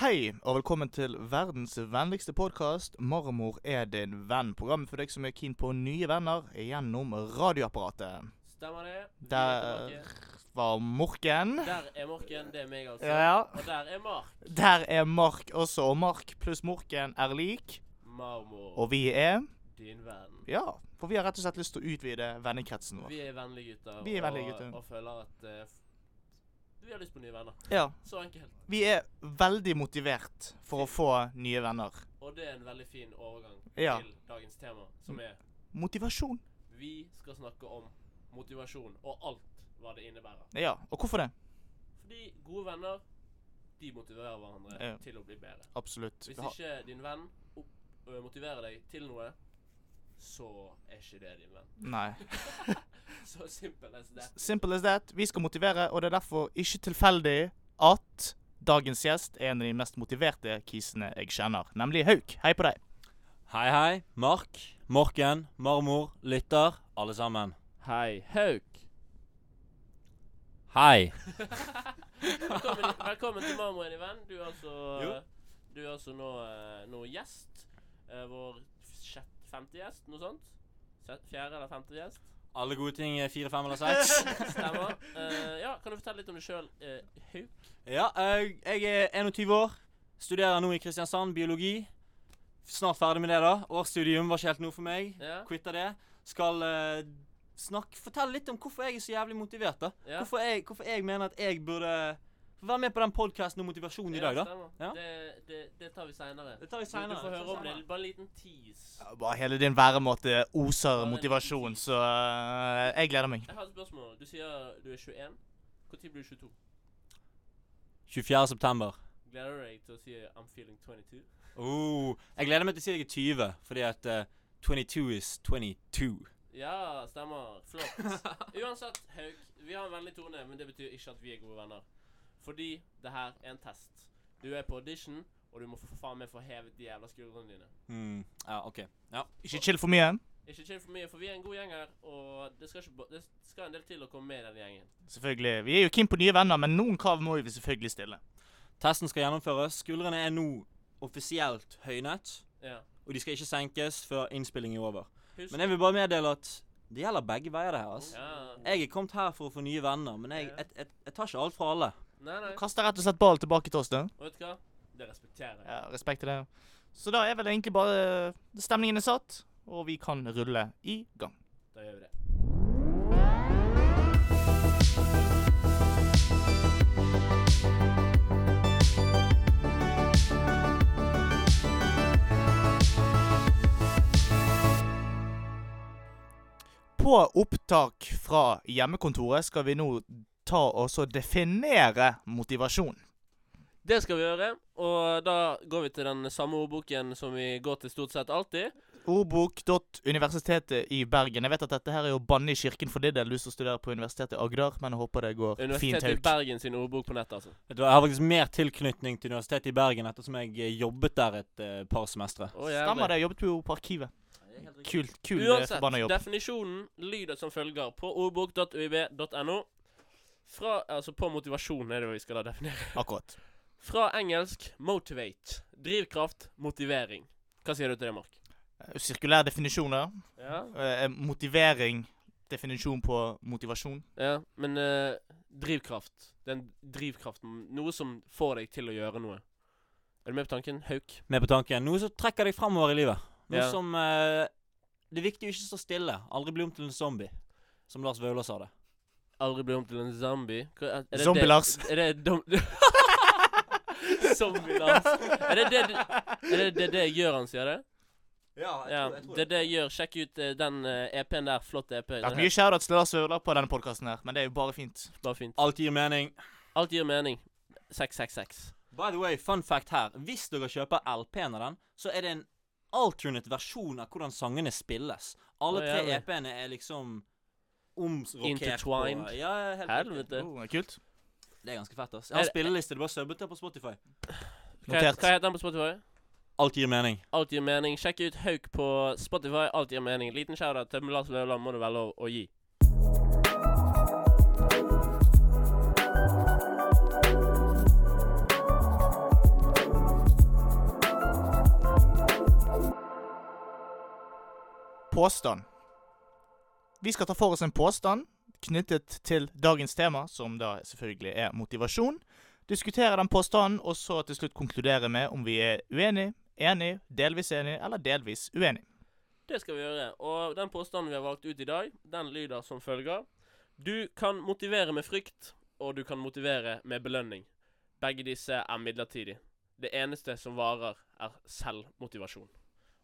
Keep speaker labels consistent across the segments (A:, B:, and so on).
A: Hei, og velkommen til verdens vennligste podkast 'Marmor er din venn'. Programmet for deg som er keen på nye venner gjennom radioapparatet.
B: Stemmer det. Vi er
A: Der
B: tilbake.
A: var Morken.
B: der er Morken, det er meg, altså.
A: Ja.
B: Og der er Mark.
A: Der er Mark også, og Mark pluss Morken er lik.
B: Marmor,
A: Og vi er
B: din venn.
A: Ja, for vi har rett og slett lyst til å utvide vennekretsen vår.
B: Vi er vennlige gutter,
A: Vi er vennlige
B: og,
A: gutter.
B: og føler at eh, vi har lyst på nye venner.
A: Ja.
B: Så enkelt.
A: Vi er veldig motivert for å få nye venner.
B: Og det er en veldig fin overgang
A: Ja.
B: til dagens tema, som er
A: Motivasjon.
B: Vi skal snakke om motivasjon og alt hva det innebærer.
A: Ja, og hvorfor det?
B: Fordi gode venner, de motiverer hverandre
A: Ja.
B: til å bli bedre.
A: Absolutt.
B: Hvis
A: Vi har-
B: ikke din venn opp, ø, motiverer deg til noe, så er ikke det din venn.
A: Nei.
B: Så simpel as det.
A: Simple as that. Vi skal motivere, og det er derfor ikke tilfeldig at dagens gjest er en av de mest motiverte kisene jeg kjenner, nemlig Hauk. Hei på deg.
C: Hei, hei. Mark, Morken, Marmor, lytter, alle sammen.
B: Hei, Hauk.
C: Hei.
B: Velkommen, velkommen til Marmor din venn. Du er altså,
C: Jo.
B: du er altså nå, eh, nå gjest. Eh, Vår sjette, femte gjest, noe sånt. Se- Fjerde eller femte gjest.
C: Alle gode ting er fire, fem eller seks.
B: Stemmer. Eh, ja, kan du fortelle litt om deg sjøl, Hauk?
C: ja, eh, jeg er 21 år. Studerer nå i Kristiansand biologi. Snart ferdig med det, da. Årsstudium var ikke helt noe for meg.
B: Ja.
C: Quitter det. Skal eh, snakk, fortelle litt om hvorfor jeg er så jævlig motivert, da.
B: Ja.
C: Hvorfor, jeg, hvorfor jeg mener at jeg burde være med på den podkasten om motivasjon i dag, da.
B: stemmer.
C: Ja.
B: Det, det, det tar vi seinere.
C: Det tar vi
B: Du
C: seinere.
B: får høre om det. Bare en liten tease.
A: Bare hele din væremåte oser
B: Ja, det er
A: motivasjon, så eh, jeg gleder meg.
B: Jeg har et spørsmål. Du sier du er 21. Når blir du 22?
C: 24. september.
B: Gleder du deg til å si 'I'm feeling 22'?
C: Oh, jeg gleder meg til å si jeg er 20, fordi at eh, 22 is 22.
B: Ja, stemmer. Flott. Uansett, Hauk, vi har en vennlig tone, men det betyr ikke at vi er gode venner. Fordi det her er en test. Du er på audition, og du må for faen meg få hevet de jævla skuldrene dine.
C: Mm. Ja, OK. Ja.
A: Ikke chill for mye.
B: Ikke chill for mye, for vi er en god gjeng her, og det skal, ikke, ba- det skal en del til å komme med i den gjengen.
A: Selvfølgelig. Vi er jo keen på nye venner, men noen krav må vi selvfølgelig stille.
C: Testen skal gjennomføres. Skuldrene er nå offisielt høynet,
B: Ja.
C: og de skal ikke senkes før innspillingen er over.
B: Husk
C: Men jeg vil bare meddele at det gjelder begge veier, det her. altså.
B: ja.
C: Jeg er kommet her for å få nye venner, men jeg, jeg, jeg, jeg tar ikke alt fra alle.
B: Nei, nei.
A: Kast rett og slett ball tilbake til oss, da.
B: Og vet du hva? Det respekterer jeg.
A: Ja, respekt til det. Så da er vel egentlig bare eh, stemningen er satt, og vi kan rulle i gang.
B: Da gjør vi det.
A: På opptak fra hjemmekontoret skal vi nå ta og så definere motivasjon.
B: Det skal vi gjøre, og da går vi til den samme ordboken som vi går til stort sett alltid.
A: Ordbok.universitetet i Bergen. Jeg vet at dette her er å banne i kirken for din del, du som studerer på Universitetet i Agder, men jeg håper det går fint,
B: Universitetet i
A: Hauk.
B: Bergen sin ordbok på nettet, altså.
C: Jeg har faktisk mer tilknytning til Universitetet i Bergen ettersom jeg eh, jobbet der et eh, par semestre.
B: Å, jævlig.
A: Stemmer det, jeg jobbet jo på Arkivet. Kult, kul eh,
B: Uansett,
A: forbanna jobb.
B: definisjonen lyder som følger på ordbok.uib.no. Fra, altså på motivasjon er det vi skal da definere.
A: Akkurat.
B: Fra engelsk 'motivate'. Drivkraft, motivering. Hva sier du til det, Mark?
A: Eh, Sirkulær definisjon, da.
B: Ja,
A: Eh, Motivering. Definisjon på motivasjon.
B: ja men eh, drivkraft. Den drivkraften Noe som får deg til å gjøre noe. Er du med på tanken, Hauk?
C: med på tanken. Noe som trekker deg fremover i livet. Noe
B: Ja.
C: som eh, Det er viktig å ikke stå stille. Aldri bli om til en zombie. Som Lars Vaular sa det.
B: Aldri bli om til en zombie. Hva- er- er det
A: Zombie
B: det-
A: Lars.
B: Er det dom... zombie Lars. Er det det, du- er det, det, det jeg gjør han sier det? Ja, det er det jeg gjør. Sjekk ut eh, den eh, EP-en der. Flott EP.
A: Det har
B: Den
A: vært mye
B: her.
A: shoutouts til Lars Vaular på denne podkasten her, men det er jo bare fint.
B: Bare fint.
C: Alt gir mening.
B: Alt gir mening. 666.
C: By the way, fun fact her. Hvis dere kjøper LP-en av den, så er det en alternate versjon av hvordan sangene spilles. Alle
B: Å,
C: tre
B: jævlig.
C: EP-ene er liksom omrokert.
B: Intertwined.
C: på- Ja, ja, helt riktig.
B: Helvete.
A: Oh, kult.
C: Det er ganske fett, ass. Jeg har
B: Er det-
C: spilleliste. Det er bare subbet til på Spotify.
B: Hva, hva
A: Notert.
B: heter den på Spotify?
C: Alt gir mening.
B: Alt gir mening. Sjekk ut Hauk på Spotify. Alt gir mening. Liten shout-out til Lars Løvland må det være lov å gi.
A: Påstand. Vi skal ta for oss en påstand knyttet til dagens tema, som da selvfølgelig er motivasjon. Diskutere den påstanden, og så til slutt konkludere med om vi er uenig, enig, delvis enig eller delvis uenig.
B: Det skal vi gjøre. Og den påstanden vi har valgt ut i dag, den lyder som følger. Du kan motivere med frykt, og du kan motivere med belønning. Begge disse er midlertidig. Det eneste som varer, er selvmotivasjon.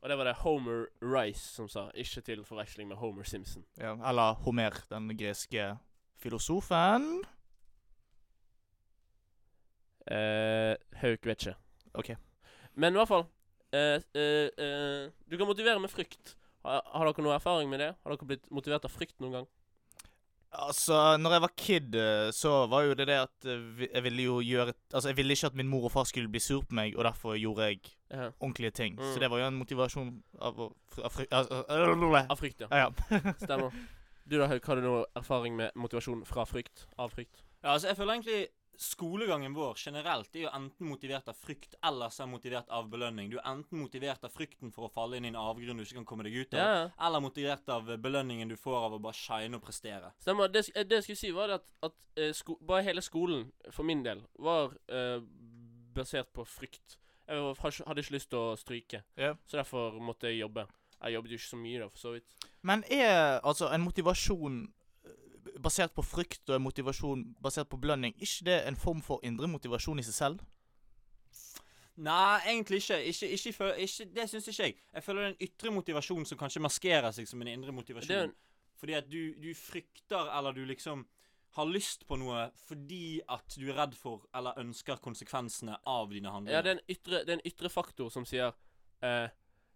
B: Og det var det Homer Rice som sa, ikke til forveksling med Homer Simpson.
A: Ja, eller Homer, den greske filosofen.
B: Eh, Hauk vet ikke.
A: OK.
B: Men i hvert fall eh, eh, eh, Du kan motivere med frykt. Har, har dere noe erfaring med det? Har dere blitt motivert av frykt noen gang?
A: Altså, når jeg var kid, eh, så var jo det det at eh, vi- jeg ville jo gjøre Altså, jeg ville ikke at min mor og far skulle bli sur på meg, og derfor gjorde jeg
B: Ja.
A: ordentlige ting. Så
B: Mm.
A: det var jo en motivasjon av å fr- av fry- altså, øh,
B: Av frykt, ja.
A: Ja, ja.
B: Stemmer. Du da, Hauk, har du noe erfaring med motivasjon fra frykt? Av frykt?
C: Ja, altså, jeg føler egentlig skolegangen vår generelt er jo enten motivert av frykt, eller så er motivert av belønning. Du er enten motivert av frykten for å falle inn i en avgrunn du ikke kan komme deg ut av,
B: Ja, ja.
C: eller motivert av eh, belønningen du får av å bare shine og prestere.
B: Stemmer. Det, sk- eh, det jeg skulle si, var det at, at eh, sko bare hele skolen, for min del, var eh, basert på frykt. Jeg var, har ikke- hadde ikke lyst til å stryke,
A: Ja.
B: så derfor måtte jeg jobbe. Jeg jobbet jo ikke så mye, da, for så vidt.
A: Men er altså en motivasjon eh, basert på frykt og en motivasjon basert på belønning, ikke det en form for indre motivasjon i seg selv?
C: Nei, egentlig ikke. ikke, ikke, fø- ikke det syns ikke jeg. Jeg føler det er en ytre motivasjon som kanskje maskerer seg som en indre
B: Det er jo
C: motivasjon.
B: en-
C: Fordi at du, du frykter, eller du liksom har lyst på noe fordi at du er redd for eller ønsker konsekvensene av dine
A: Mm.
B: Ja, det er
C: handlinger.
B: en ytre, det er en ytre faktor som sier eh,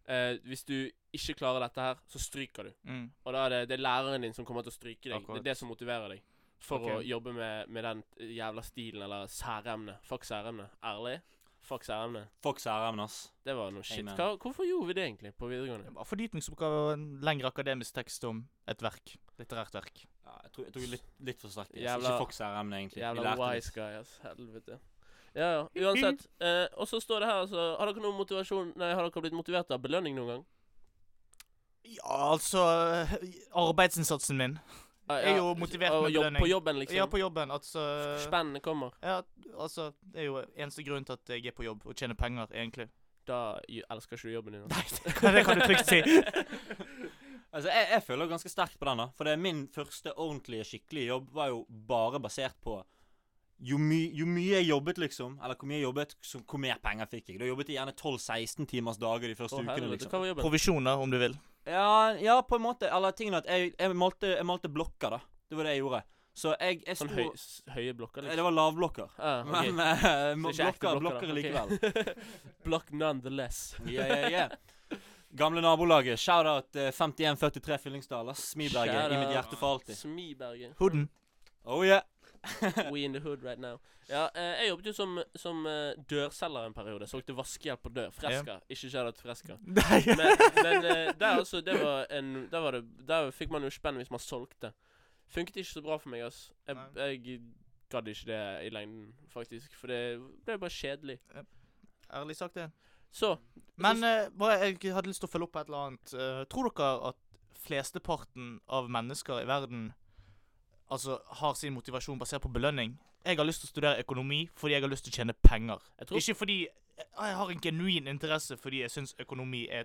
B: eh, Hvis du ikke klarer dette her, så stryker du.
A: Mm.
B: Og da er det, det er læreren din som kommer til å stryke deg.
A: Akkurat.
B: Det er det som motiverer deg. For
A: Ok.
B: å jobbe med, med den jævla stilen eller særemnet. Fuck særemnet. Ærlig? Fuck særemnet.
C: Folk særemner, ass.
B: Det var noe shit.
C: Amen.
B: Hva, hvorfor gjorde vi det egentlig på videregående?
A: Bare Fordypningsoppgave og en lengre akademisk tekst om et verk. Litterært verk.
C: Ja, jeg tror, jeg tror litt, litt for sterkt. i det, så
B: Jævla-
C: ikke folk særemner, egentlig. Vi
B: Jævla
C: lærte litt.
B: wise guy, ass. Helvete. Ja, ja. Uansett. Eh, og så står det her, altså Har dere noen motivasjon Nei, har dere blitt motivert av belønning noen gang?
A: Ja, altså eh, Arbeidsinnsatsen min.
B: Ah,
A: Jeg er jo motivert
B: og
A: med
B: jobb,
A: belønning.
B: På jobben, liksom?
A: Ja, på jobben. Altså
B: Spennene kommer.
A: ja, altså, Det er jo eneste grunnen til at jeg er på jobb, og tjener penger, egentlig.
B: Da gj- elsker ikke du jobben din. altså.
A: Nei, det kan, det kan du trygt si.
C: Altså, jeg, jeg føler ganske sterkt på den, da. For det er min første ordentlige, skikkelige jobb var jo bare basert på jo, my, jo mye jeg jobbet, liksom, eller hvor mye jeg jobbet, så hvor mer penger fikk jeg. Da jobbet jeg gjerne 12-16 timers dager de første
B: Å,
C: ukene,
B: helvete,
C: liksom.
B: Hva var jobben?
A: Provisjoner, om du vil.
C: Ja, ja, på en måte. Eller tingen at jeg, jeg, malte, jeg malte blokker, da. Det var det jeg gjorde. Så jeg, jeg sto
B: Sånn høy, s- høye blokker,
C: Eh,
B: liksom?
C: Det var lavblokker.
B: Ah, ok.
C: Men eh,
B: Så ikke ekte
C: blokker,
B: da.
C: blokker
B: Ok.
C: likevel.
B: Blokk nonetheless.
C: Ja, ja, ja. Gamle nabolaget. Shout-out eh, 5143 Fyllingsdal. ass. Smiberget i mitt hjerte for alltid.
B: Smiberget.
A: Hooden.
C: Oh yeah.
B: We in the hood right now. Ja, eh, jeg jobbet jo som, som eh, dørselger en periode. Solgte vaskehjelp på dør. Freska. Ikke kjærlighet til Freska.
A: Mm. Nei.
B: Men, men eh, der altså, det var en Der, var det, der fikk man jo spenn hvis man solgte. Funket ikke så bra for meg, ass. Jeg, jeg gadd ikke det i lengden, faktisk. For det ble bare kjedelig.
A: Ærlig sagt, det.
B: Så
A: Men eh, bare, jeg hadde lyst til å følge opp på et eller annet. Eh, tror dere at flesteparten av mennesker i verden altså, har sin motivasjon basert på belønning? Jeg har lyst til å studere økonomi fordi jeg har lyst til å tjene penger.
B: jeg tror
A: Ikke fordi jeg, jeg har en genuin interesse fordi jeg syns økonomi er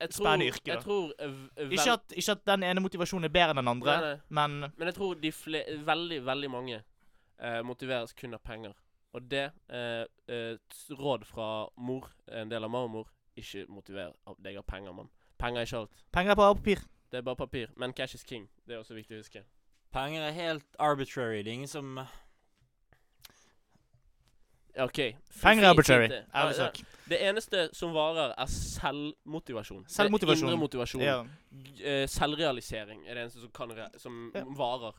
B: jeg tror,
A: spennende yrke, da.
B: Jeg tror eh, v- vel-
A: ikke at, ikke at den ene motivasjonen er bedre enn den andre,
B: Nei, nei.
A: men
B: Men jeg tror de fle veldig, veldig mange eh, motiveres kun av penger. Og det eh, eh, t- råd fra mor, en del av mormor, ikke motiver av deg av penger, mann. Penger er ikke alt.
A: penger er bare papir.
B: Det er bare papir. Men cash is king. Det er også viktig å huske.
C: Penger er helt arbitrary. Det er ingen som
B: Ja, OK.
A: Fenger er arbitrary.
B: Fint, det. Ja,
A: Ærlig
B: ja.
A: sak.
B: Det eneste som varer, er selvmotivasjon. Det er
A: Selvmotivasjon.
B: Indre motivasjon.
A: Ja.
B: G- eh, Selvrealisering er det eneste som, kan re som
A: Ja.
B: varer.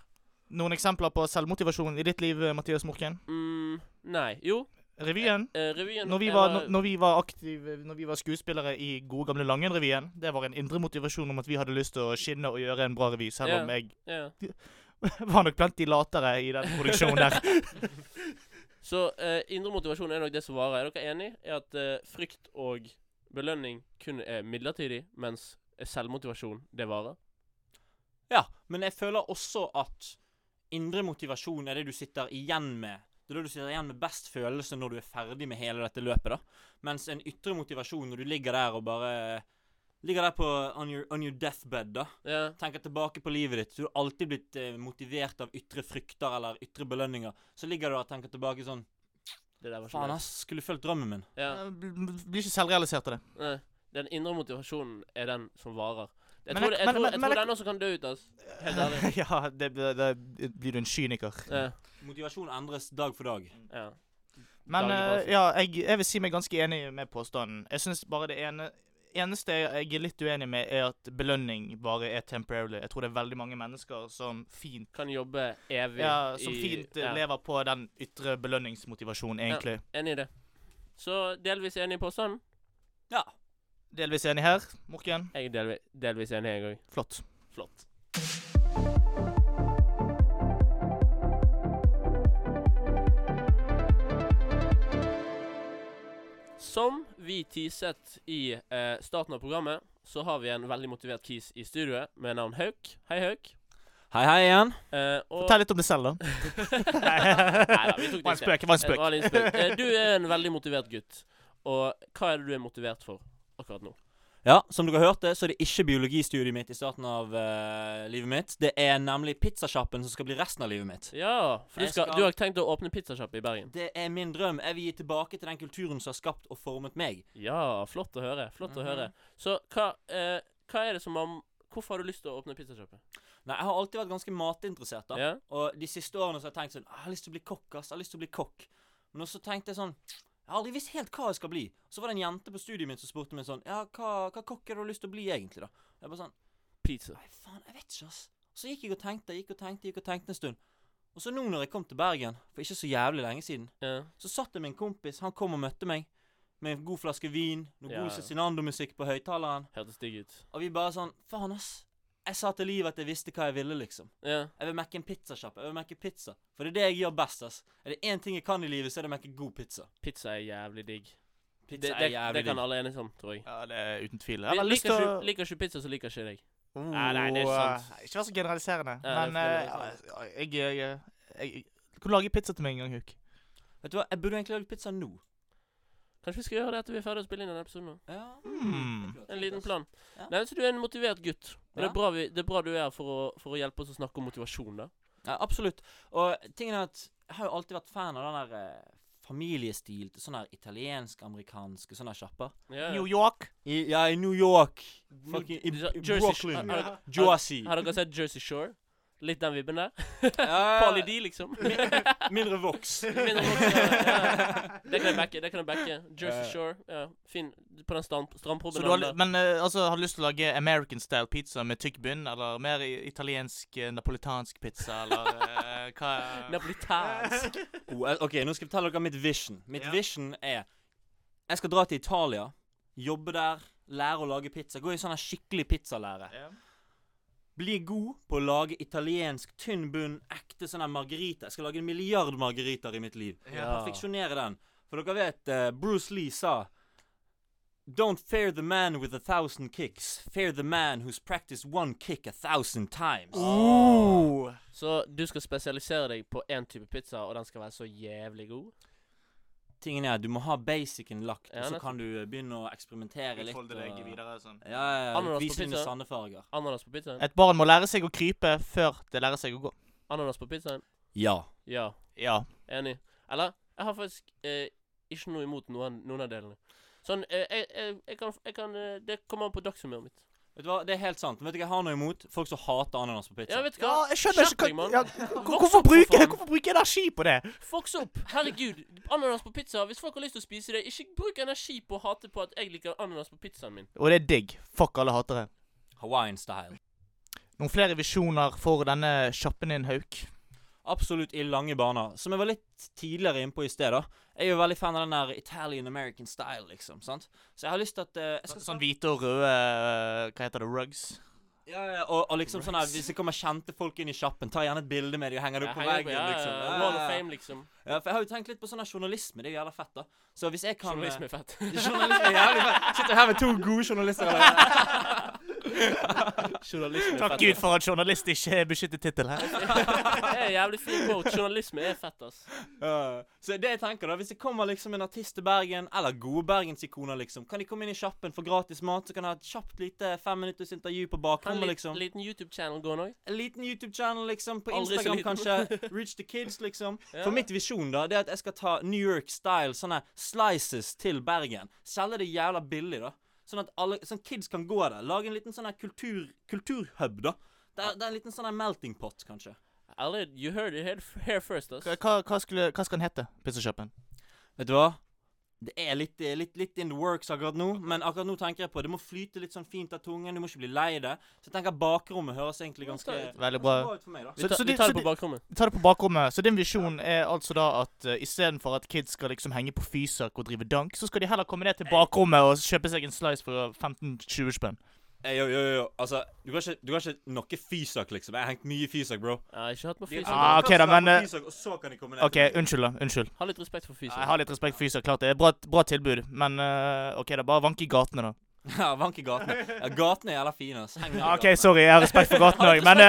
A: Noen eksempler på selvmotivasjon i ditt liv, Mathias Morken?
B: Mm, nei. Jo,
A: Revyen.
B: eh, revyen
A: Når vi,
B: jeg
A: var, når- når vi var aktive, når vi var skuespillere i gode gamle Langen-revyen, det var en indre motivasjon om at vi hadde lyst til å skinne og gjøre en bra revy, selv
B: Ja.
A: om jeg
B: ja.
A: var nok blant de latere i den produksjonen der.
B: Så eh, indre motivasjon er nok det som varer. Er dere enig i at eh, frykt og belønning kun er midlertidig, mens selvmotivasjon, det varer?
C: Ja, men jeg føler også at indre motivasjon er det du sitter igjen med. Det er da du sitter igjen med best følelse når du er ferdig med hele dette løpet, da. Mens en ytre motivasjon når du ligger der og bare Ligger der på on your, on your deathbed, da.
B: Ja.
C: Tenker tilbake på livet ditt. Så du har alltid blitt eh, motivert av ytre frykter eller ytre belønninger. Så ligger du der og tenker tilbake sånn
B: Det der var så
C: Faen,
B: nice.
C: ass. Skulle fulgt drømmen min.
B: Ja.
A: Jeg Blir ikke selvrealisert av det.
B: Nei. Den indre motivasjonen er den som varer. Jeg
A: Men
B: tror,
A: jeg-
B: det- jeg
A: men-
B: tror,
A: men-
B: jeg
A: men
B: tror
A: jeg-
B: den også kan dø ut, altså. Helt ærlig.
A: ja, det, det, det blir du en kyniker.
B: Ja.
C: Motivasjon endres dag for dag.
B: ja.
A: Men
B: Daglig
A: eh,
B: basis.
A: ja, jeg, jeg vil si meg ganske enig med påstanden. Jeg syns bare det ene, eneste jeg er litt uenig med, er at belønning bare er temporarily. Jeg tror det er veldig mange mennesker som fint
B: Kan jobbe evig
A: ja, som
B: i-
A: fint eh,
B: ja.
A: lever på den ytre belønningsmotivasjonen, egentlig.
B: Enig i det. Så delvis enig i påstanden.
C: Ja.
A: Delvis enig her. Morken,
B: Jeg er delvis, delvis enig, jeg òg.
A: flott.
B: Flott. Som vi teaset i eh, starten av programmet, så har vi en veldig motivert kis i studioet med navn Hauk. Hei, Hauk.
C: Hei, hei igjen.
B: Eh, og
A: Fortell litt om deg selv, da.
B: Neida, vi tok det
A: Var en
B: i sted.
A: spøk. Var en
B: Eh, det
A: spøk.
B: var en liten spøk. Eh, Du er en veldig motivert gutt. Og hva er det du er motivert for akkurat nå?
C: Ja, som dere hørte, så er det ikke biologistudiet mitt i starten av eh, livet mitt. Det er nemlig pizzasjappen som skal bli resten av livet mitt.
B: Ja, for du,
C: Jeg
B: skal,
C: skal-
B: du har tenkt å åpne pizzasjappe i Bergen?
C: Det er min drøm. Jeg vil gi tilbake til den kulturen som har skapt og formet meg.
B: Ja, flott å høre. Flott å
C: Mhm.
B: høre. Så hva, eh, hva er det som om Hvorfor har du lyst til å åpne pizzasjappe?
C: Nei, Jeg har alltid vært ganske matinteressert. da.
B: Ja?
C: Og de siste årene så har jeg tenkt sånn Jeg har lyst til å bli kokk, ass. Jeg har lyst til å bli kokk. Men også tenkte jeg sånn Jeg har aldri visst helt hva jeg skal bli. Så var det en jente på studiet mitt som spurte meg sånn Ja, hva, hva kokk er det du har lyst til å bli, egentlig, da? Jeg bare sånn
B: Pizza.
C: Nei, faen, jeg vet ikke, ass. Så gikk jeg og tenkte, gikk og tenkte, gikk og tenkte en stund. Og så nå når jeg kom til Bergen, for ikke så jævlig lenge siden,
B: Ja.
C: så satt jeg med en kompis, han kom og møtte meg. Med en god flaske vin, noe
B: Ja,
C: god
B: ja.
C: Cezinando-musikk på høyttaleren.
B: Hørtes digg ut.
C: Og vi bare sånn Faen, ass. Jeg sa til livet at jeg visste hva jeg ville, liksom.
B: Ja.
C: Jeg vil mekke en pizzasjappe. Jeg vil mekke pizza. For det er det jeg gjør best, ass. Er det én ting jeg kan i livet, så er det å mekke god pizza.
B: Pizza er jævlig digg.
C: Pizza
B: Det, det,
C: er jævlig
B: det kan
C: digg.
B: alle enes om, tror jeg.
A: Ja, det er uten tvil. Jeg
B: Li-
A: har lyst
B: Liker
A: til
B: ikke
A: å
B: liker ikke pizza, så liker ikke jeg deg.
A: Oh,
B: Nei, nei, det er ikke sant.
A: eh, Ikke vær så generaliserende.
B: Ja, det
A: men
B: er
A: eh, jeg,
B: veldig
A: jeg, jeg, jeg Du kan lage pizza til meg en gang, Huk.
C: Vet du hva, jeg burde egentlig lagd pizza nå.
B: Kanskje vi skal gjøre det etter vi er ferdig å spille inn denne episoden? nå?
C: Ja.
A: Mm.
B: En liten plan.
C: Ja.
B: Nei, så Du er en motivert gutt. Og det,
C: Ja.
B: er bra vi, det er bra du er her for å, for å hjelpe oss å snakke om motivasjon. da
C: Ja, absolutt. Og tingen er at jeg har jo alltid vært fan av den der eh, familiestil til sånne her italiensk-amerikanske sånne her sjapper.
B: Ja, ja.
A: New York.
C: I, ja, i New York.
B: New-
C: Fucking i,
B: Jersey-
C: i
B: Jersey-
C: Brooklyn.
B: har- har-
C: Jersey.
B: Har dere sett Jersey Shore? Litt den vibben der.
A: Eh.
B: Farlig
C: Ja,
B: de, liksom.
C: mindre voks.
B: Mindre folk, ja, ja. Det kan jeg backe. det kan jeg backe Jersey
C: Ja.
B: Shore. ja Fin på den strand-
A: Eh. Så du har,
B: strandpromenaden.
A: li-
B: der.
A: men eh, altså, har du lyst til å lage American style pizza med tykk bunn, eller mer i- italiensk eh, napolitansk pizza, eller eh, hva
B: Napolitansk.
C: Oh, eh, ok, nå skal jeg fortelle dere mitt vision. Mitt
A: Ja.
C: vision er Jeg skal dra til Italia, jobbe der, lære å lage pizza. Gå i sånn her skikkelig pizzalære.
A: Ja.
C: Bli god på å lage italiensk tynn bunn, ekte sånn her margarita. Jeg skal lage en milliard margariter i mitt liv.
B: Ja.
C: Perfeksjonere den. For dere vet, eh, Bruce Lee sa Don't fear the man with a thousand kicks. Fear the man who's practiced one kick a thousand times.
A: Oh.
B: Så du skal spesialisere deg på én type pizza, og den skal være så jævlig god?
C: Tingen er, du må ha basicen lagt,
B: Ja,
C: og så
B: nettopp.
C: kan du eh, begynne å eksperimentere litt.
A: Utfolde deg
C: og-
A: videre sånn.
C: Ja, ja, ja.
B: Ananas på
C: Vise dine
B: pizza.
C: sanne farger.
B: Ananas på pizzaen?
A: Et barn må lære seg å krype før det lærer seg å gå.
B: Ananas på pizzaen?
C: Ja.
B: Ja.
A: Ja.
B: Enig. Eller? Jeg har faktisk eh, ikke noe imot noen, noen av delene. Sånn, eh, jeg, jeg, jeg kan, jeg kan eh, Det kommer an på dagshumøret mitt.
C: Vet du hva, Det er helt sant. Vet du hva jeg har noe imot folk som hater ananas på pizza.
B: Ja, vet du hva?
A: Ja, jeg skjønner
B: Skjerp
A: ikke
B: deg,
A: hva
B: mann.
A: ja,
B: Voks
A: hvorfor,
B: opp, for
A: bruke,
B: faen.
A: hvorfor bruke energi på det?
B: Voks opp! Herregud. Ananas på pizza. Hvis folk har lyst til å spise det, ikke bruk energi på å hate på at jeg liker ananas på pizzaen min.
A: Og det er digg. Fuck alle hatere.
C: Hawaiian style.
A: Noen flere visjoner for denne kjappen din, Hauk?
C: Absolutt i lange baner. Som jeg var litt tidligere innpå i sted, da. Jeg er jo veldig fan av den der Italian American style, liksom. sant? Så jeg har lyst til at eh, jeg skal
A: Sånn hvite og røde eh, Hva heter det? Rugs?
C: Ja, ja, og, og liksom sånn her, Hvis det kommer kjente folk inn i sjappen, ta gjerne et bilde med dem og henger det
B: Jeg
C: opp på
B: henger på-
C: veggen.
B: ja, ja,
C: liksom. Ja,
B: Wall of
C: ja, ja.
B: fame, liksom.
C: Ja, for Jeg har jo tenkt litt på sånn her journalisme. Det er jo jævla fett, da. Så hvis jeg kan eh,
B: Journalisme er fett.
C: Journalisme er jævlig fett. Sitter her med to gode journalister. Eller?
B: Journalisme
A: Takk Gud for at journalist ikke er beskyttet tittel her.
B: det er en jævlig fin quote. Journalisme er fett, ass.
C: Ja. så det jeg tenker da, Hvis det kommer liksom en artist til Bergen, eller gode bergensikoner, liksom, kan de komme inn i sjappen for gratis mat, så kan de ha et kjapt lite femminutters intervju på
B: Kan en
C: bakrommet,
B: lit-
C: liksom.
B: liten YouTube-channel gå nå?
C: En liten YouTube-channel, liksom. På
B: Aldri så
C: Instagram,
B: liten.
C: kanskje. Reach the kids, liksom.
B: Ja.
C: For mitt visjon, da, det er at jeg skal ta New York-style, sånne slices til Bergen. Selge det jævla billig, da. Sånn at alle, sånn kids kan gå der. Lage en liten sånn her kultur, kulturhub, da. Det er, det er en liten sånn her melting pot, kanskje.
B: Ærlig, you heard it here- here first, ass.
A: Hva, hva, skulle, hva skal den hete? Pizzasjappen?
C: Vet du hva? Det er litt, det er litt, litt in the works akkurat nå, men akkurat nå tenker jeg på det må flyte litt sånn fint av tungen, du må ikke bli lei det. Så jeg tenker bakrommet høres egentlig ganske
B: Ganske-
A: Veldig bra.
C: ganske bra ut for meg, da.
B: Vi,
A: Så-
B: tar-
A: så
B: vi
A: de- så
B: tar det på
A: de-
B: bakrommet.
A: Ta det på bakrommet. Så din visjon er altså da at uh, istedenfor at kids skal liksom henge på fysak og drive dank, så skal de heller komme ned til bakrommet og kjøpe seg en slice for 15-20 spenn.
C: Ey, jo, jo, jo, altså, du kan ikke, du kan ikke nokke fysak, liksom. Jeg har hengt mye fysak, bro.
B: Jeg har ikke hatt med
C: De-
B: fysak.
A: Ah,
C: de
A: ok
C: kan
A: da,
C: slappe
A: men,
C: av
A: eh,
C: Fysak, og så kan de komme ned
A: OK,
C: til-
A: unnskyld, da. Unnskyld.
B: Ha litt respekt for fysak.
A: Jeg har litt respekt for fysak, klart det. er Bra, bra tilbud, men uh, OK, da. Bare vank i gatene, da.
C: Ja, vank i gatene. Ja, gatene er jævla fine, ass. Heng ned i
A: Ja, OK,
C: gatene.
A: sorry. Jeg har respekt for gatene òg, men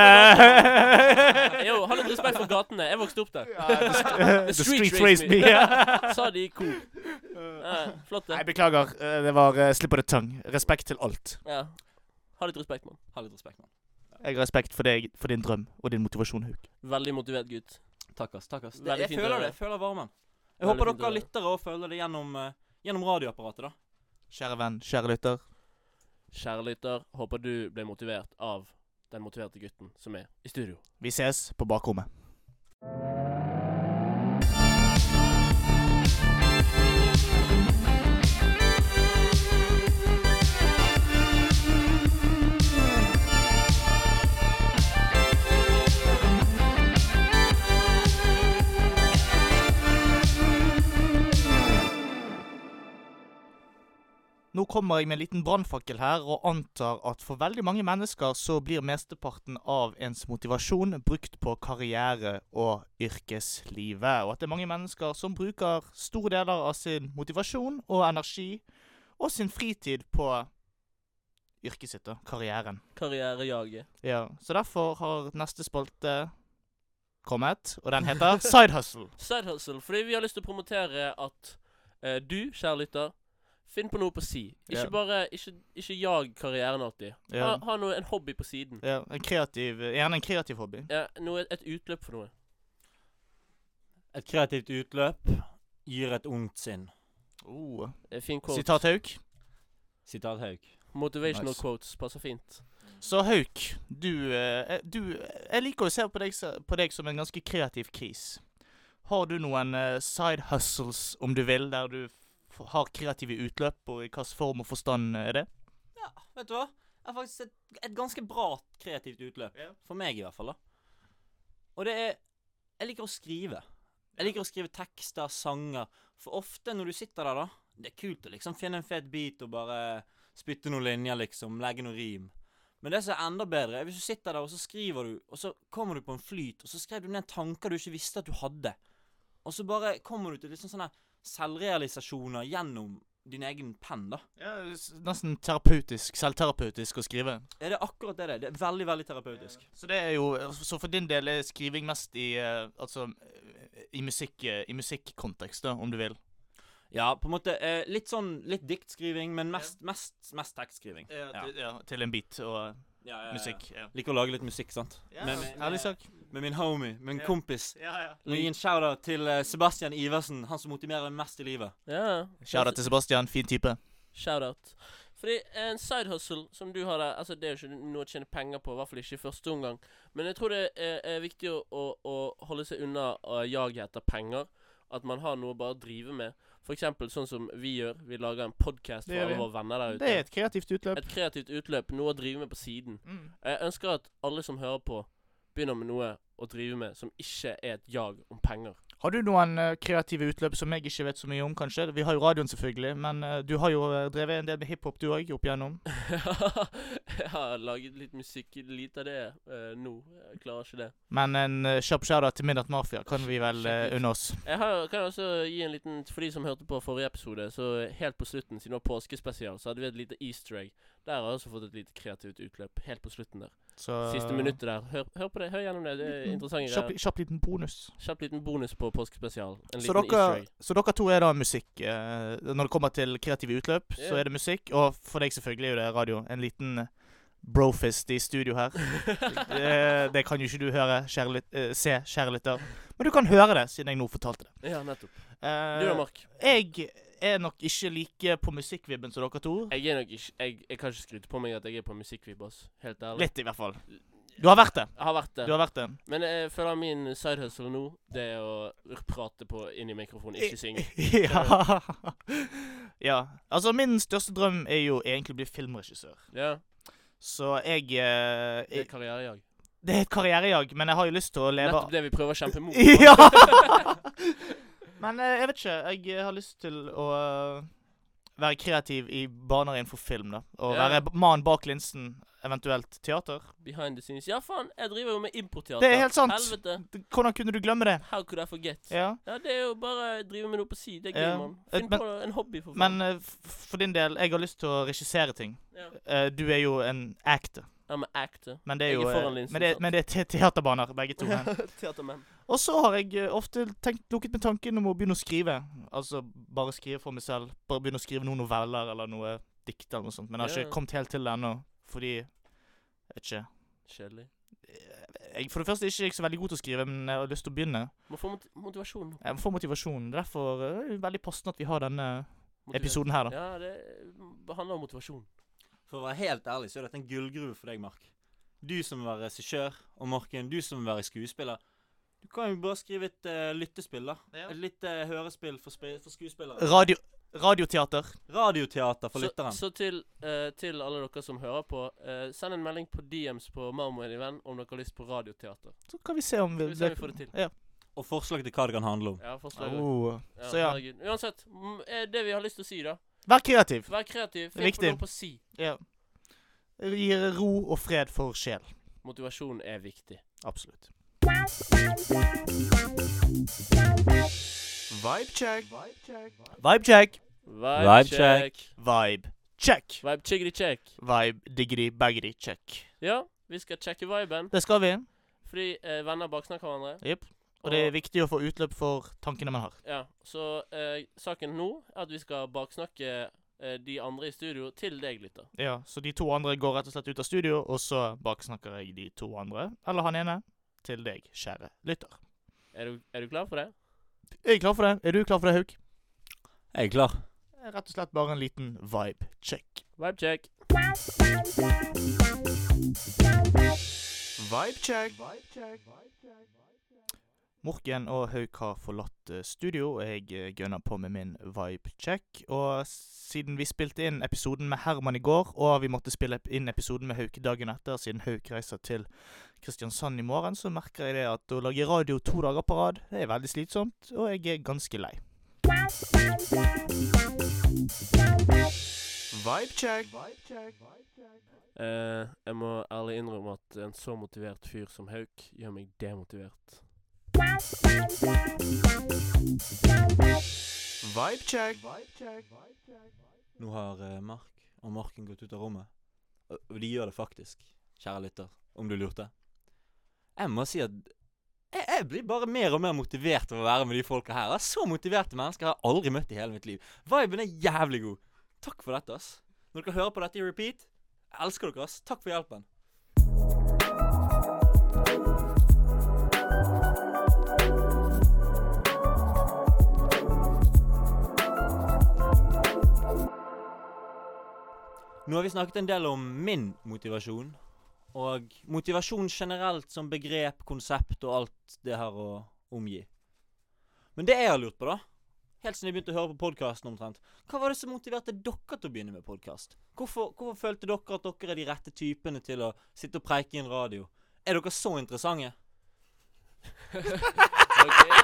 A: uh,
B: Jo, ha litt respekt for gatene. Jeg vokste opp der.
A: The street raised me.
B: Sa de i kor. Ja, flott,
A: Nei,
B: det.
A: beklager. eh, Det var uh, slipp of the tongue. Respekt til alt.
B: Ja. Ha litt respekt, mann.
C: Ha litt respekt, mann.
A: Jeg har respekt for deg, for din drøm og din motivasjon, Hauk.
B: Veldig motivert gutt.
C: Takk, ass. takk, ass. Det,
B: Veldig
C: jeg
B: fint å
C: føler
B: høre.
C: det. Jeg føler varmen. Jeg
B: Veldig
C: håper
B: fint å
C: dere
B: høre.
C: lyttere òg føler det gjennom, eh, gjennom radioapparatet, da.
A: Kjære venn, kjære lytter.
B: Kjære lytter, håper du ble motivert av den motiverte gutten som er i studio.
A: Vi ses på bakrommet. Nå kommer jeg med en liten brannfakkel her, og antar at for veldig mange mennesker så blir mesteparten av ens motivasjon brukt på karriere og yrkeslivet, og at det er mange mennesker som bruker store deler av sin motivasjon og energi og sin fritid på yrket sitt, da, karrieren.
B: Karrierejaget.
A: Ja, så derfor har neste spalte kommet, og den heter Side Hustle.
B: Side hustle, fordi vi har lyst til å promotere at eh, du, kjære lytter, finn på noe på si. Ikke
A: Ja.
B: bare Ikke, ikke jag karrieren alltid. Ha,
A: Ja,
B: ha noe, en hobby på siden.
A: ja en kreativ, gjerne en kreativ hobby.
B: Ja, noe, et utløp for noe.
C: Et kreativt utløp gir et ungt sinn.
A: Oh.
B: Eh, Fin quote.
A: Sitat Hauk.
C: Sitat Haug.
B: Motivational
A: Nice.
B: quotes passer fint.
A: Så Hauk, du, eh, du Jeg liker å se på deg, s- på deg som en ganske kreativ kis. Har du noen eh, side hustles, om du vil, der du f har kreative utløp, og i hvilken form og forstand er det?
C: Ja, vet du hva? Jeg har faktisk et, et ganske bra kreativt utløp. For meg, i hvert fall. da. Og det er Jeg liker å skrive. Jeg liker å skrive tekster, sanger. For ofte når du sitter der, da Det er kult å liksom finne en fet beat og bare spytte noen linjer, liksom. Legge noen rim. Men det som er enda bedre, er hvis du sitter der og så skriver du, og så kommer du på en flyt, og så skrev du ned tanker du ikke visste at du hadde. Og så bare kommer du til liksom sånne selvrealisasjoner gjennom din egen penn, da.
A: Ja, s- Nesten terapeutisk, selvterapeutisk å skrive.
C: Ja, det er akkurat det det er. Det er veldig, veldig terapeutisk.
A: Så det er jo eh, Så for din del er skriving mest i eh, Altså eh, i musikk eh, I musikkontekst, da, om du vil.
C: Ja, på en måte eh, litt sånn litt diktskriving, men mest, mest, mest tekstskriving.
A: Ja. Til, ja, til en beat og eh,
C: Ja, ja, ja.
A: musikk. Ja.
C: Liker å lage litt musikk, sant? Med- med-
A: Ærlig sak.
C: Med min homie, med en
A: Ja.
C: kompis.
A: Ja, ja.
C: Må gi en shout-out til eh, Sebastian Iversen, han som motiverer meg mest i livet.
B: Ja.
A: Kjære til Sebastian, fin type.
B: Shout out. Fordi en side hustle som du har der, altså det er jo ikke noe å tjene penger på, i hvert fall ikke i første omgang. Men jeg tror det er, er viktig å, å, å holde seg unna eh, jaget etter penger. At man har noe å bare drive med. For eksempel sånn som vi gjør. Vi lager en podkast
A: Det
B: for
A: gjør
B: alle
A: vi.
B: våre venner der ute.
A: Det er et kreativt utløp.
B: Et kreativt utløp. Noe å drive med på siden.
A: Mm.
B: Jeg ønsker at alle som hører på, begynner med noe å drive med som ikke er et jag om penger.
A: Har du noen eh, kreative utløp som jeg ikke vet så mye om, kanskje? Vi har jo radioen, selvfølgelig, men eh, du har jo eh, drevet en del med hiphop, du òg, opp igjennom.
B: jeg har laget litt musikk. Lite av det eh, nå. Jeg klarer ikke det.
A: Men en eh, kjapp shoutout til Midnatt Mafia kan vi vel eh,
B: Sjekk ut.
A: unne oss.
B: Jeg har, kan også gi en liten For de som hørte på forrige episode, så helt på slutten, siden det var påskespesial, så hadde vi et lite easter egg. Der har jeg også fått et lite kreativt utløp. Helt på slutten der.
A: Så,
B: Siste minuttet der. Hør, hør på det. Hør gjennom det. Det er
A: Eh. Liten
B: interessante
A: Kjapp,
B: greier.
A: kjapp liten bonus.
B: Kjapp liten bonus på påskespesial. En
A: Så
B: liten easter
A: dere,
B: egg.
A: så dere to er da musikk. eh, når det kommer til kreative utløp,
B: Ja.
A: så er det musikk. Og for deg selvfølgelig er jo det radio. En liten brofist i studio her. det, det kan jo ikke du høre, kjære lyt, eh, se, kjære lytter. Men du kan høre det, siden jeg nå fortalte det.
B: Ja, nettopp.
A: Eh,
B: Du da, Mark?
A: jeg er nok ikke like på musikkvibben som dere to.
B: Jeg er nok ikke Jeg, jeg kan ikke skryte på meg at jeg er på musikkvibb, ass. Helt ærlig.
A: Litt, i hvert fall. Du har vært det.
B: Jeg har vært
A: Du
B: der.
A: har vært det.
B: Men jeg føler min side hustle nå, det er å prate på inn i mikrofonen, ikke synge.
A: ja. ja. Altså, min største drøm er jo egentlig å bli filmregissør.
B: Ja.
A: Så jeg, eh,
B: Det er
A: jeg
B: karrierejag.
A: Det er et karrierejag, men jeg har jo lyst til å leve
B: Nettopp det vi prøver å kjempe mot.
A: Ja! Men eh, jeg vet ikke. Jeg eh, har lyst til å eh, være kreativ i baner innenfor film, da. Og
B: Ja.
A: være b- mannen bak linsen, eventuelt teater.
B: Behind the scenes. Ja, faen, jeg driver jo med importeater.
A: Det er helt sant.
B: Helvete.
A: D- Hvordan kunne du glemme det?
B: How could I forget? Ja.
A: Ja.
B: det er jo bare å drive med noe på si. Det er gøy,
A: Ja.
B: mann.
A: Eh,
B: Finn
A: men-
B: på en hobby, for faen.
A: Men eh, f- for din del, jeg har lyst til å regissere ting.
B: ja.
A: Eh, du er jo en actor,
B: I'm an actor.
A: men det er
B: Jeg er
A: jo eh,
B: foran linsen,
A: men, det,
B: sant?
A: men det er te teaterbaner, begge to. men.
B: Teatermann.
A: Og så har jeg eh, ofte tenkt, lukket med tanken om å begynne å skrive. Altså bare skrive for meg selv. Bare begynne å skrive noen noveller eller noe dikt eller noe sånt. Men jeg har
B: Ja.
A: ikke kommet helt til det ennå, fordi Jeg vet ikke. Eh,
B: Kjedelig.
A: Jeg, for det første er jeg ikke så veldig god til å skrive, men jeg har lyst til å begynne.
B: Må få mot motivasjon.
A: Jeg får motivasjon. Derfor eh, er det veldig passende at vi har denne
B: Motivert.
A: episoden her, da.
B: Ja, det eh, handler om motivasjon.
C: For å være helt ærlig, så er dette en gullgruve for deg, Mark. Du som vil være regissør, og Marken, du som vil være skuespiller. Du kan jo bare skrive et eh, lyttespill, da.
A: Ja.
C: Et lite hørespill for, spe- for skuespillere.
A: Radio, radioteater.
C: Radioteater for
B: så,
C: lytteren.
B: så til, eh, til alle dere som hører på, eh, send en melding på DMs på Marmor en venn om dere har lyst på radioteater.
A: Så kan vi se om vi,
B: Skal vi se om vi får det til?
A: Ja.
C: Og forslag til hva det kan handle om.
B: Ja, forslag også.
A: Oh.
B: ja,
A: Så ja,
B: herregud. Uansett, mm, eh, det vi har lyst til å si, da.
A: vær kreativ.
B: Vær kreativ.
A: er
B: Finn på
A: viktig.
B: noe på si.
A: Ja. Gir ro og fred for sjel.
B: Motivasjon er viktig.
A: Absolutt.
D: Vibe check.
A: Vibe check.
B: Vibe
C: check.
B: check.
A: Vibe check.
B: Vibe chiggity check.
A: Vibe diggity baggity check.
B: Ja, vi skal sjekke viben.
A: Det skal vi.
B: Fordi eh, venner baksnakker hverandre.
A: Jepp. Og det er viktig å få utløp for tankene man har.
B: Ja, Så eh, saken nå er at vi skal baksnakke eh, de andre i studio til deg, lytter.
A: Ja, Så de to andre går rett og slett ut av studio, og så baksnakker jeg de to andre, eller han ene, til deg, kjære lytter.
B: Er du, er du klar for det?
A: Er jeg klar for det? Er du klar for det, Hauk?
C: Jeg er klar.
A: Eh, Rett og slett bare en liten vibe check.
B: Vibe check.
D: Vibe check.
A: Morken og Hauk har forlatt eh, studio, og jeg eh, gønner på med min vibe-check. Og siden vi spilte inn episoden med Herman i går, og vi måtte spille ep- inn episoden med Hauk dagen etter, siden Hauk reiser til Kristiansand i morgen, så merker jeg det at å lage radio to dager på rad, det er veldig slitsomt, og jeg er ganske lei.
D: Vibe check.
B: Eh, jeg må ærlig innrømme at en så motivert fyr som Hauk gjør meg demotivert.
D: Vibe check.
C: Nå har eh, Mark og Marken gått ut av rommet. Og- Og de gjør det faktisk, kjære lytter, om du lurte. Jeg må si at jeg, jeg blir bare mer og mer motivert av å være med de folka her. ass. Så motiverte mennesker har jeg aldri møtt i hele mitt liv. Viben er jævlig god. Takk for dette, ass. Når dere hører på dette i repeat, jeg elsker dere, ass. Takk for hjelpen. Nå har vi snakket en del om min motivasjon. Og motivasjon generelt som begrep, konsept og alt det her å omgi. Men det jeg har lurt på, da Helt siden jeg begynte å høre på podkasten omtrent. Hva var det som motiverte dere til å begynne med podkast? Hvorfor, hvorfor følte dere at dere er de rette typene til å sitte og preike i en radio? Er dere så interessante?
B: Ok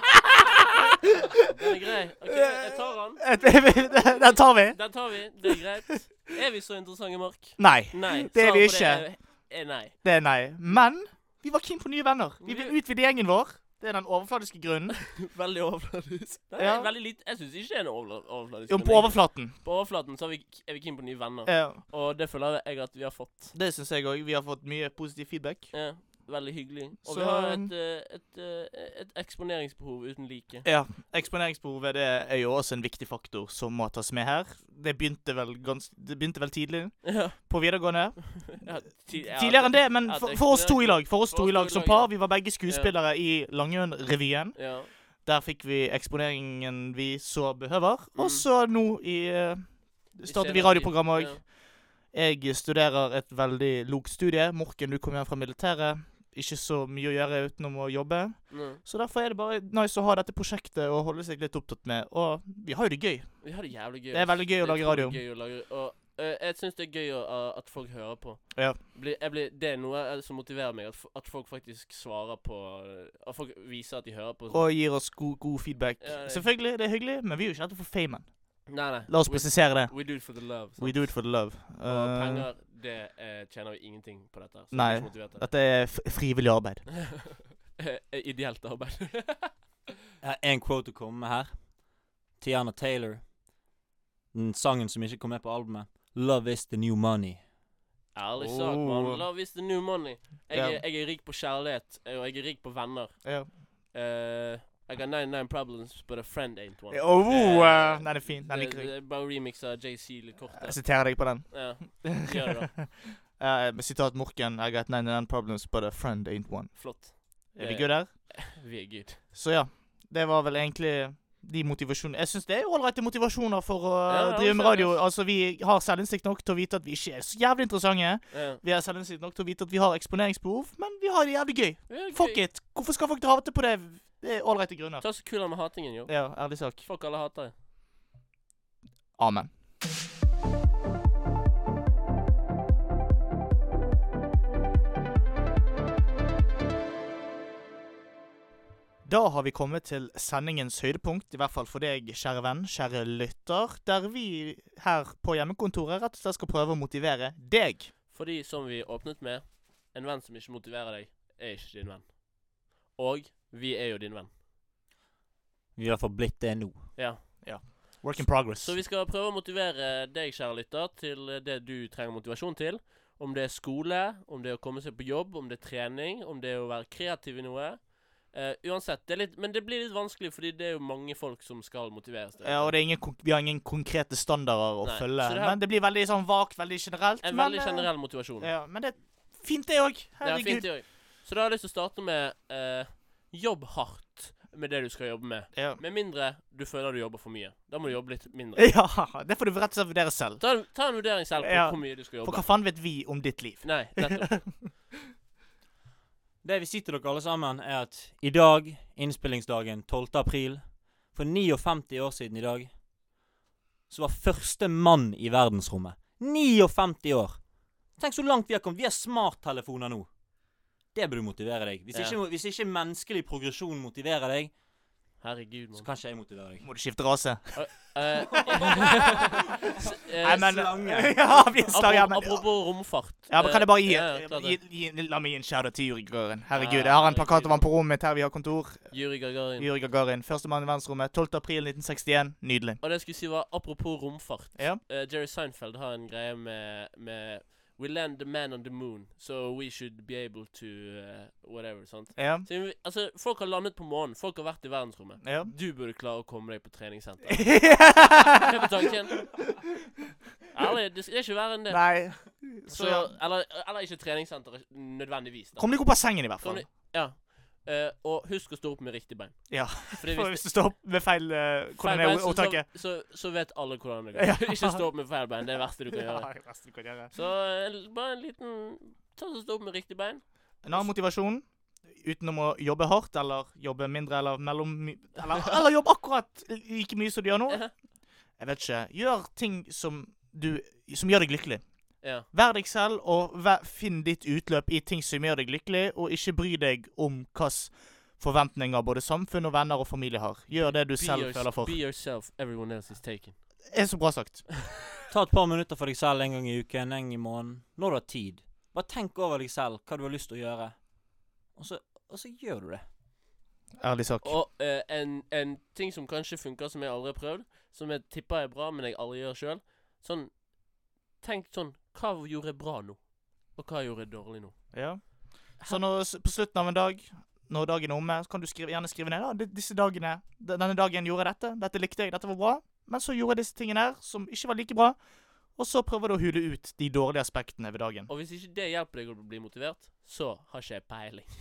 B: Den er grei. Ok, jeg tar den.
A: Den tar vi.
B: Den tar vi. Det er greit. Er vi så interessante, Mark?
A: Nei.
B: Nei.
A: Det er vi
B: svaret på er- er nei.
A: Det er nei. Men vi var keen på nye venner. Vi
B: Vi-
A: vil utvide gjengen vår. Det er den overfladiske grunnen.
B: Veldig overfladisk. Nei,
A: Ja.
B: veldig lite. Jeg syns ikke det er en overfla- overfladisk.
A: Jo,
B: men
A: på
B: jeg-
A: overflaten.
B: på overflaten så er vi, er vi keen på nye venner.
A: Ja.
B: Og det føler jeg at vi har fått.
A: Det syns jeg òg. Vi har fått mye positiv feedback.
B: Ja, veldig hyggelig. Og
A: Så- um,
B: vi har et, eh, et, eh, et eksponeringsbehov uten like.
A: Ja. Eksponeringsbehovet det er jo også en viktig faktor som må tas med her. Det begynte vel, gans det begynte vel tidlig
B: Ja.
A: på videregående.
B: Ja, ti- ja,
A: Tidligere enn det, men
B: ja,
A: for,
B: det-
A: for oss to i lag for oss to i lag som
B: ja.
A: par. Vi var begge skuespillere i Langøen-revyen.
B: Ja.
A: Der fikk vi eksponeringen vi så behøver.
B: Mm.
A: Og så nå i eh, starter vi
B: senere
A: radioprogram
B: tid.
A: òg.
B: Ja.
A: Jeg studerer et veldig lokt studie. Morken, du kom hjem fra militæret. Ikke så mye å gjøre utenom å jobbe.
B: Nei.
A: Så derfor er det bare nice å ha dette prosjektet og holde seg litt opptatt med. Og vi har jo det gøy.
B: Vi har det jævlig gøy.
A: Det er
B: ass.
A: veldig gøy å
B: Det er
A: lage radio.
B: utrolig Gøy å lage, og eh, jeg syns det er gøy å, eh, at folk hører på.
A: Ja.
B: Blir- jeg blir, det er noe eh, som motiverer meg, at, f at folk faktisk svarer på eh, At folk viser at de hører på.
A: Og gir oss god, god feedback.
B: Ja, det-
A: Selvfølgelig, det er hyggelig, men vi er jo ikke her for famen.
B: Nei, nei.
A: La oss
B: we,
A: presisere det.
B: we do it for the love. sant?
A: We do it for the love.
B: Og
A: Eh,
B: penger, det eh, tjener vi ingenting på dette. Så
A: nei.
B: det er ikke motivert
A: dette er f frivillig arbeid.
B: til. Eh, Ideelt arbeid.
C: Jeg har en quote å komme med her. Tiana Taylor. Den sangen som ikke kom med på albumet. 'Love is the new money'.
B: Ærlig sak,
A: Oh.
B: mann. Love is the new money. Jeg,
A: Ja.
B: er, jeg er rik på kjærlighet, eh, og jeg er rik på venner.
A: Ja.
B: Eh, I got 99 problems, but a friend ain't one.
A: Oh, eh,
B: Det-
A: nei, det er Altså, fin. Den
B: det-
A: liker jeg.
B: det er Bare remix av JC litt kort. der.
A: Jeg siterer deg på den.
B: Ja. Gjør det, da.
A: Eh, med sitat Morken. I got 99 problems, but a friend ain't one.
B: Flott.
A: Er vi
B: Det-
A: good der?
B: Vi er good.
A: Så ja, det var vel egentlig de motivasjonene. Jeg syns det er ålreite motivasjoner for å
B: Ja, ja,
A: drive med
B: absolutt.
A: radio. Altså, vi har selvinnsikt nok til å vite at vi ikke er så jævlig interessante.
B: Ja.
A: Vi har selvinnsikt nok til å vite at vi har eksponeringsbehov, men vi har det jævlig gøy.
B: Vi er
A: Fuck
B: gøy.
A: it! Hvorfor skal folk hate på det? Det er ålreite grunner.
B: Ta så kul med hatingen, jo.
A: Ja, ærlig sak.
B: Fuck alle hatere.
A: Amen. Da har vi kommet til sendingens høydepunkt, i hvert fall for deg, kjære venn, kjære lytter, der vi her på hjemmekontoret rett og slett skal prøve å motivere deg.
B: Fordi, som vi åpnet med, en venn som ikke motiverer deg, er ikke din venn. Og vi er jo din venn.
C: Vi har i hvert fall blitt det nå.
B: Ja.
A: Work in progress.
B: Så vi skal prøve å motivere deg, kjære lytter, til det du trenger motivasjon til. Om det er skole, om det er å komme seg på jobb, om det er trening, om det er å være kreativ i noe. Eh, uansett, det er litt, Men det blir litt vanskelig, fordi det er jo mange folk som skal motiveres. til
A: Ja, og det er ingen, konk- vi har ingen konkrete standarder å
B: Nei,
A: følge,
B: så det her-
A: men det blir veldig sånn vagt, veldig generelt.
B: En
A: men,
B: veldig
A: eh,
B: generell motivasjon.
A: Ja, men det er fint det òg.
B: Det er fint,
A: Herregud.
B: det òg. Så da har jeg lyst til å starte med eh, jobb hardt med det du skal jobbe med.
A: Ja.
B: Med mindre du føler du jobber for mye. Da må du jobbe litt mindre.
A: Ja, det får du rett og slett vurdere selv.
B: Ta, ta en vurdering selv på
A: Ja.
B: hvor mye du skal
A: For
B: jobbe.
A: hva faen vet vi om ditt liv?
B: Nei, nettopp.
C: Det jeg vil si til dere alle sammen, er at i dag, innspillingsdagen 12. april, for 59 år siden i dag, så var første mann i verdensrommet 59 år! Tenk så langt vi har kommet. Vi har smarttelefoner nå. Det burde motivere deg. Hvis
B: Ja.
C: ikke, hvis ikke menneskelig progresjon motiverer deg,
B: Herregud,
C: så
B: mann.
C: kan ikke jeg motivere deg.
A: Må du skifte rase?
B: Eh, s- eh,
A: Nei, men
C: slange.
A: Ja, vi er slange.
B: apropos,
A: men-
B: apropos romfart.
A: Ja, men kan jeg bare gi,
B: Eh, ja, klart
A: gi,
B: det.
A: gi La meg gi en shadow til Juri Gagarin. Herregud,
B: Ja,
A: jeg har en
B: herregud.
A: plakat over han på rommet mitt her vi har kontor.
B: Yuri Gagarin.
A: Juri Gagarin, førstemann i verdensrommet. 12. april 1961. Nydelig.
B: Og det jeg skulle si var apropos romfart.
A: Ja.
B: Eh, Jerry Seinfeld har en greie med, med We land the man on the moon, so we should be able to eh, whatever. sant?
A: Ja.
B: Så, vi- altså, Folk har landet på månen. Folk har vært i verdensrommet.
A: ja.
B: Du burde klare å komme deg på treningssenter. Hva er tanken? Ærlig, det det er ikke verre enn det.
A: Nei.
B: Så,
A: Så ja.
B: eller, eller ikke treningssenter nødvendigvis. da.
A: Kom deg opp av sengen, i hvert
B: Kom
A: fall.
B: deg- Ja. Eh, og husk å stå opp med riktig bein.
A: Ja,
B: Fordi
A: For
B: hvis
A: hvis du står opp med feil eh,
B: feil
A: Hvordan er
B: bein,
A: ord-
B: så-
A: ordtaket?
B: Så, så, så vet alle hvordan det
A: Ja.
B: går. Ikke stå opp med feil bein. Det er det verste du kan
A: Ja,
B: gjøre.
A: det beste du kan gjøre.
B: Så en- bare en liten Ta og Stå opp med riktig bein.
A: En annen motivasjon, utenom å jobbe hardt, eller jobbe mindre, eller mellom... Eller, eller jobbe akkurat like mye som du gjør nå. Jeg vet ikke. Gjør ting som, du, som gjør deg lykkelig.
B: Ja.
A: Vær deg selv, og væ- finn ditt utløp i ting som gjør deg lykkelig, og ikke bry deg om hvilke forventninger både samfunn og venner og familie har. Gjør det du
B: Be,
A: selv
B: yours-
A: føler for.
B: be yourself. Everyone else is taken.
A: Det er så bra sagt.
C: Ta et par minutter for deg selv en gang i uken, en gang i måneden. Når du har tid. Bare tenk over deg selv, hva du har lyst til å gjøre. Og så, og så gjør du det.
A: Ærlig sak.
B: Og eh, en, en ting som kanskje funker, som jeg aldri har prøvd, som jeg tipper er bra, men jeg aldri gjør sjøl Sånn Tenk sånn Hva gjorde jeg bra nå? Og hva gjorde jeg dårlig nå?
A: Ja. Så når, s- på slutten av en dag, når dagen er omme, så kan du skrive, gjerne skrive ned ja, di- disse dagene. d- Denne dagen gjorde jeg dette, dette likte jeg, dette var bra. Men så gjorde jeg disse tingene her, som ikke var like bra. Og så prøver du å hule ut de dårlige aspektene ved dagen.
B: Og hvis ikke det hjelper deg å bli motivert, så har ikke jeg peiling.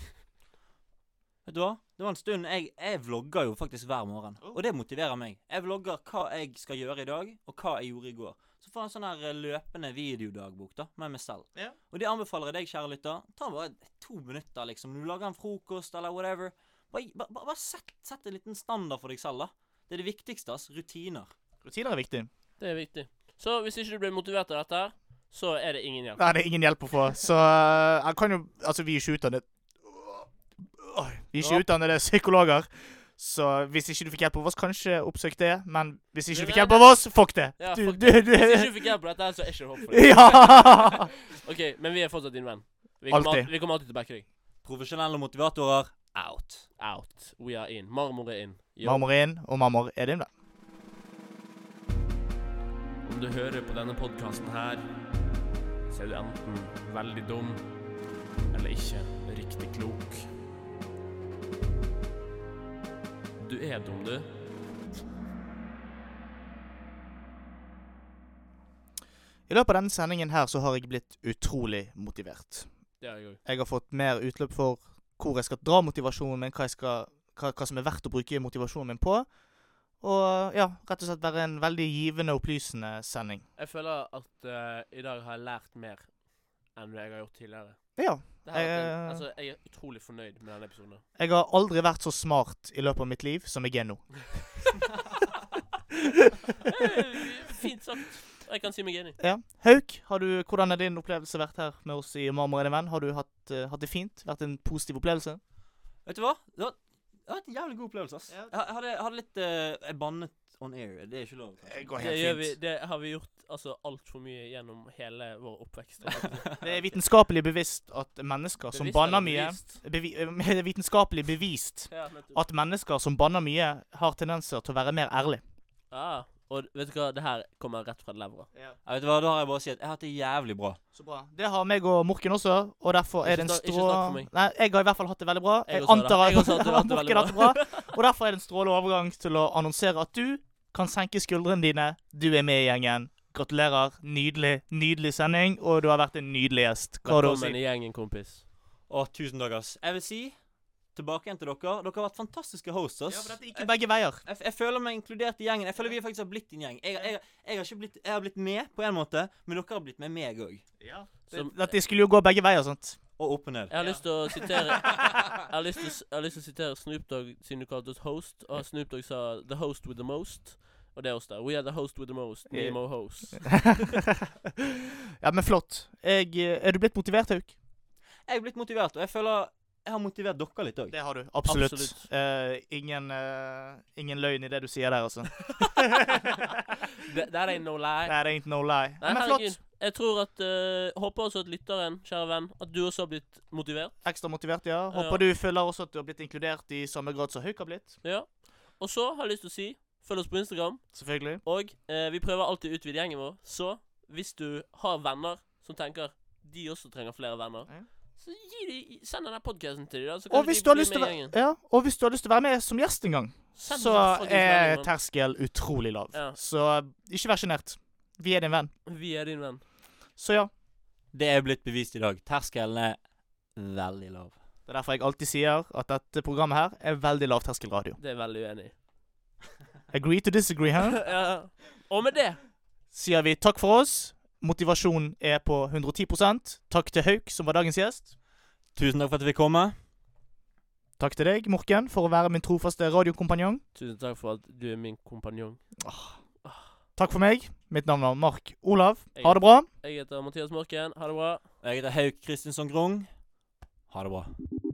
C: Vet du hva? Det var en stund Jeg, jeg vlogger jo faktisk hver morgen. Og det motiverer meg. Jeg vlogger hva jeg skal gjøre i dag, og hva jeg gjorde i går. Så får jeg en sånn her eh, løpende videodagbok da, med meg selv.
A: Ja.
C: Og det anbefaler jeg deg, kjære lytter. Ta bare to minutter, liksom. Når du lager en frokost eller whatever. Bare, bare, bare sett, sett en liten standard for deg selv, da. Det er det viktigste, ass. Rutiner.
A: Rutiner er viktig.
B: Det er viktig. Så hvis ikke du blir motivert av dette her, så er det ingen hjelp.
A: Nei, det er ingen hjelp å få. Så øh, jeg kan jo Altså, vi er ikke utdannet Åh, Vi er ikke
C: Ja.
A: utdannede psykologer. Så hvis ikke du fikk hjelp av oss, kanskje oppsøk det. Men hvis ikke du
B: Men
A: fikk
B: det-
A: hjelp av oss, fuck det!
B: Ja,
A: Du,
B: fuck
A: du, du
B: Hvis ikke du fikk hjelp på dette, her, så er ikke det håp for deg.
A: Ja!
B: OK, men vi er fortsatt din venn. Vi kommer,
A: Alltid.
B: alt, vi kommer alltid til å backe deg.
C: Profesjonelle motivatorer out.
B: Out. We are in. Marmor er in. Yo.
A: Marmor er inn, og marmor er din venn.
B: Om du hører på denne podkasten her, så er du enten veldig dum eller ikke riktig klok. Du er dum, du.
A: I løpet av denne sendingen her så har jeg blitt utrolig motivert.
B: Det er jeg òg.
A: Jeg har fått mer utløp for hvor jeg skal dra motivasjonen min, hva, jeg skal, hva, hva som er verdt å bruke motivasjonen min på. Og ja, rett og slett være en veldig givende og opplysende sending.
B: Jeg føler at eh, i dag har jeg lært mer enn det jeg har gjort tidligere.
A: Ja.
B: Det her, er en-
A: Eh.
B: altså, jeg er utrolig fornøyd med denne episoden.
A: Jeg har aldri vært så smart i løpet av mitt liv som jeg er nå.
B: Eh, Fint sagt. Jeg kan si meg enig.
A: Ja. Hauk, har du, hvordan er din opplevelse vært her med oss i Marmor er din venn? Har du hatt, eh, hatt det fint? Vært en positiv opplevelse?
C: Vet du hva? Det var, det var en jævlig god opplevelse, ass.
A: Ja.
C: Jeg, jeg hadde, jeg hadde litt eh, Jeg bannet on air. Det er ikke lov. kanskje.
A: går
B: Det, gjør vi, det har vi gjort altså, altfor mye gjennom hele vår oppvekst.
A: Det er vitenskapelig bevisst at mennesker som
B: Bevisst
A: banner
B: eller
A: mye
B: bevisst?
A: bevi, eh, Det er vitenskapelig bevist
B: Ja, nettopp.
A: at mennesker som banner mye, har tendenser til å være mer ærlig.
B: Ah, og vet du hva, det her kommer rett fra levra.
C: Ja, vet du hva, Da har jeg bare å si at jeg har hatt det jævlig bra.
A: Så bra. Det har meg og Morken også, og derfor er det
B: Ikke
A: en
B: snakk- ikke
A: strå...
B: snakk for meg.
A: Nei, jeg har i hvert fall hatt det veldig bra.
B: Jeg
A: Jeg,
B: også har det.
A: antar at
B: Jeg også har hatt det veldig
A: Morken har hatt det bra. Og derfor er det en strålende overgang til å annonsere at du kan senke skuldrene dine. Du er med i gjengen. Gratulerer. Nydelig, nydelig sending, og du har vært en nydelig gjest. Hva har du å
B: Velkommen
A: si?
B: i gjengen, kompis.
C: Å, tusen takk, ass. Jeg vil si tilbake igjen til dere. Dere har vært fantastiske hosts,
A: Ja,
C: ass.
A: for dette gikk jo begge veier.
C: jeg, jeg føler meg inkludert i gjengen. Jeg føler vi faktisk har blitt en gjeng. Jeg, jeg, jeg, har ikke blitt, jeg har blitt med på en måte, men dere har blitt med meg òg.
B: Som,
A: Dette skulle jo gå begge veier, sant?
C: Og opp og ned.
B: jeg har lyst til å sitere Jeg har lyst til, å s- jeg har lyst til å sitere Snoop Dogg siden du kalte oss host, og Snoop Dogg sa 'the host with the most'. Og det er oss der. We are the host with the most.
A: Yeah.
B: Nemo host.
A: ja, men flott. Jeg, eh, er du blitt motivert, Hauk?
C: Jeg er blitt motivert, og jeg føler jeg har motivert dere litt òg.
A: Det har du. Absolutt.
B: Absolutt.
A: Eh, ingen, eh, ingen løgn i det du sier der, altså.
B: Det der er no lie.
A: Nei, det er ikke no lie.
B: Nei,
A: men
B: herregud.
A: flott.
B: Jeg tror at eh, Håper også at lytteren, kjære venn, at du også har blitt motivert.
A: Ekstra motivert, ja. Håper du føler også at du har blitt inkludert i samme grad som Hauk har blitt.
B: Ja. Og så har jeg lyst til å si følg oss på Instagram.
A: Selvfølgelig.
B: Og eh, vi prøver alltid å utvide gjengen vår, så hvis du har venner som tenker de også trenger flere venner,
A: Ja.
B: så gi de, send denne podkasten til dem, da. Så
A: Og
B: kanskje
A: hvis,
B: de
A: du har
B: blir
A: lyst til å
B: med i
A: være,
B: gjengen.
A: ja, og hvis du har lyst til å være med som gjest en gang,
B: Send
A: så
B: oss en fuckings
A: er
B: melding, mann.
A: terskel utrolig lav.
B: Ja.
A: Så eh, ikke vær sjenert. Vi er din venn.
B: Vi er din venn.
A: Så ja.
C: Det er blitt bevist i dag. Terskelen er veldig lav.
A: Det er derfor jeg alltid sier at dette programmet her er veldig lavterskelradio.
B: Det er jeg veldig uenig i.
A: Agree to disagree, hæ?
B: ja. Og med det
A: Sier vi takk for oss. Motivasjonen er på 110 Takk til Hauk, som var dagens gjest.
C: Tusen takk for at vi fikk komme.
A: Takk til deg, Morken, for å være min trofaste radiokompanjong.
B: Tusen takk for at du er min kompanjong.
A: Takk for meg. Mitt navn er Mark Olav.
B: Jeg-
A: Ha det bra.
B: Jeg heter Mathias Morken. Ha det bra.
C: Jeg heter Hauk Kristinsson Grung. Ha det bra.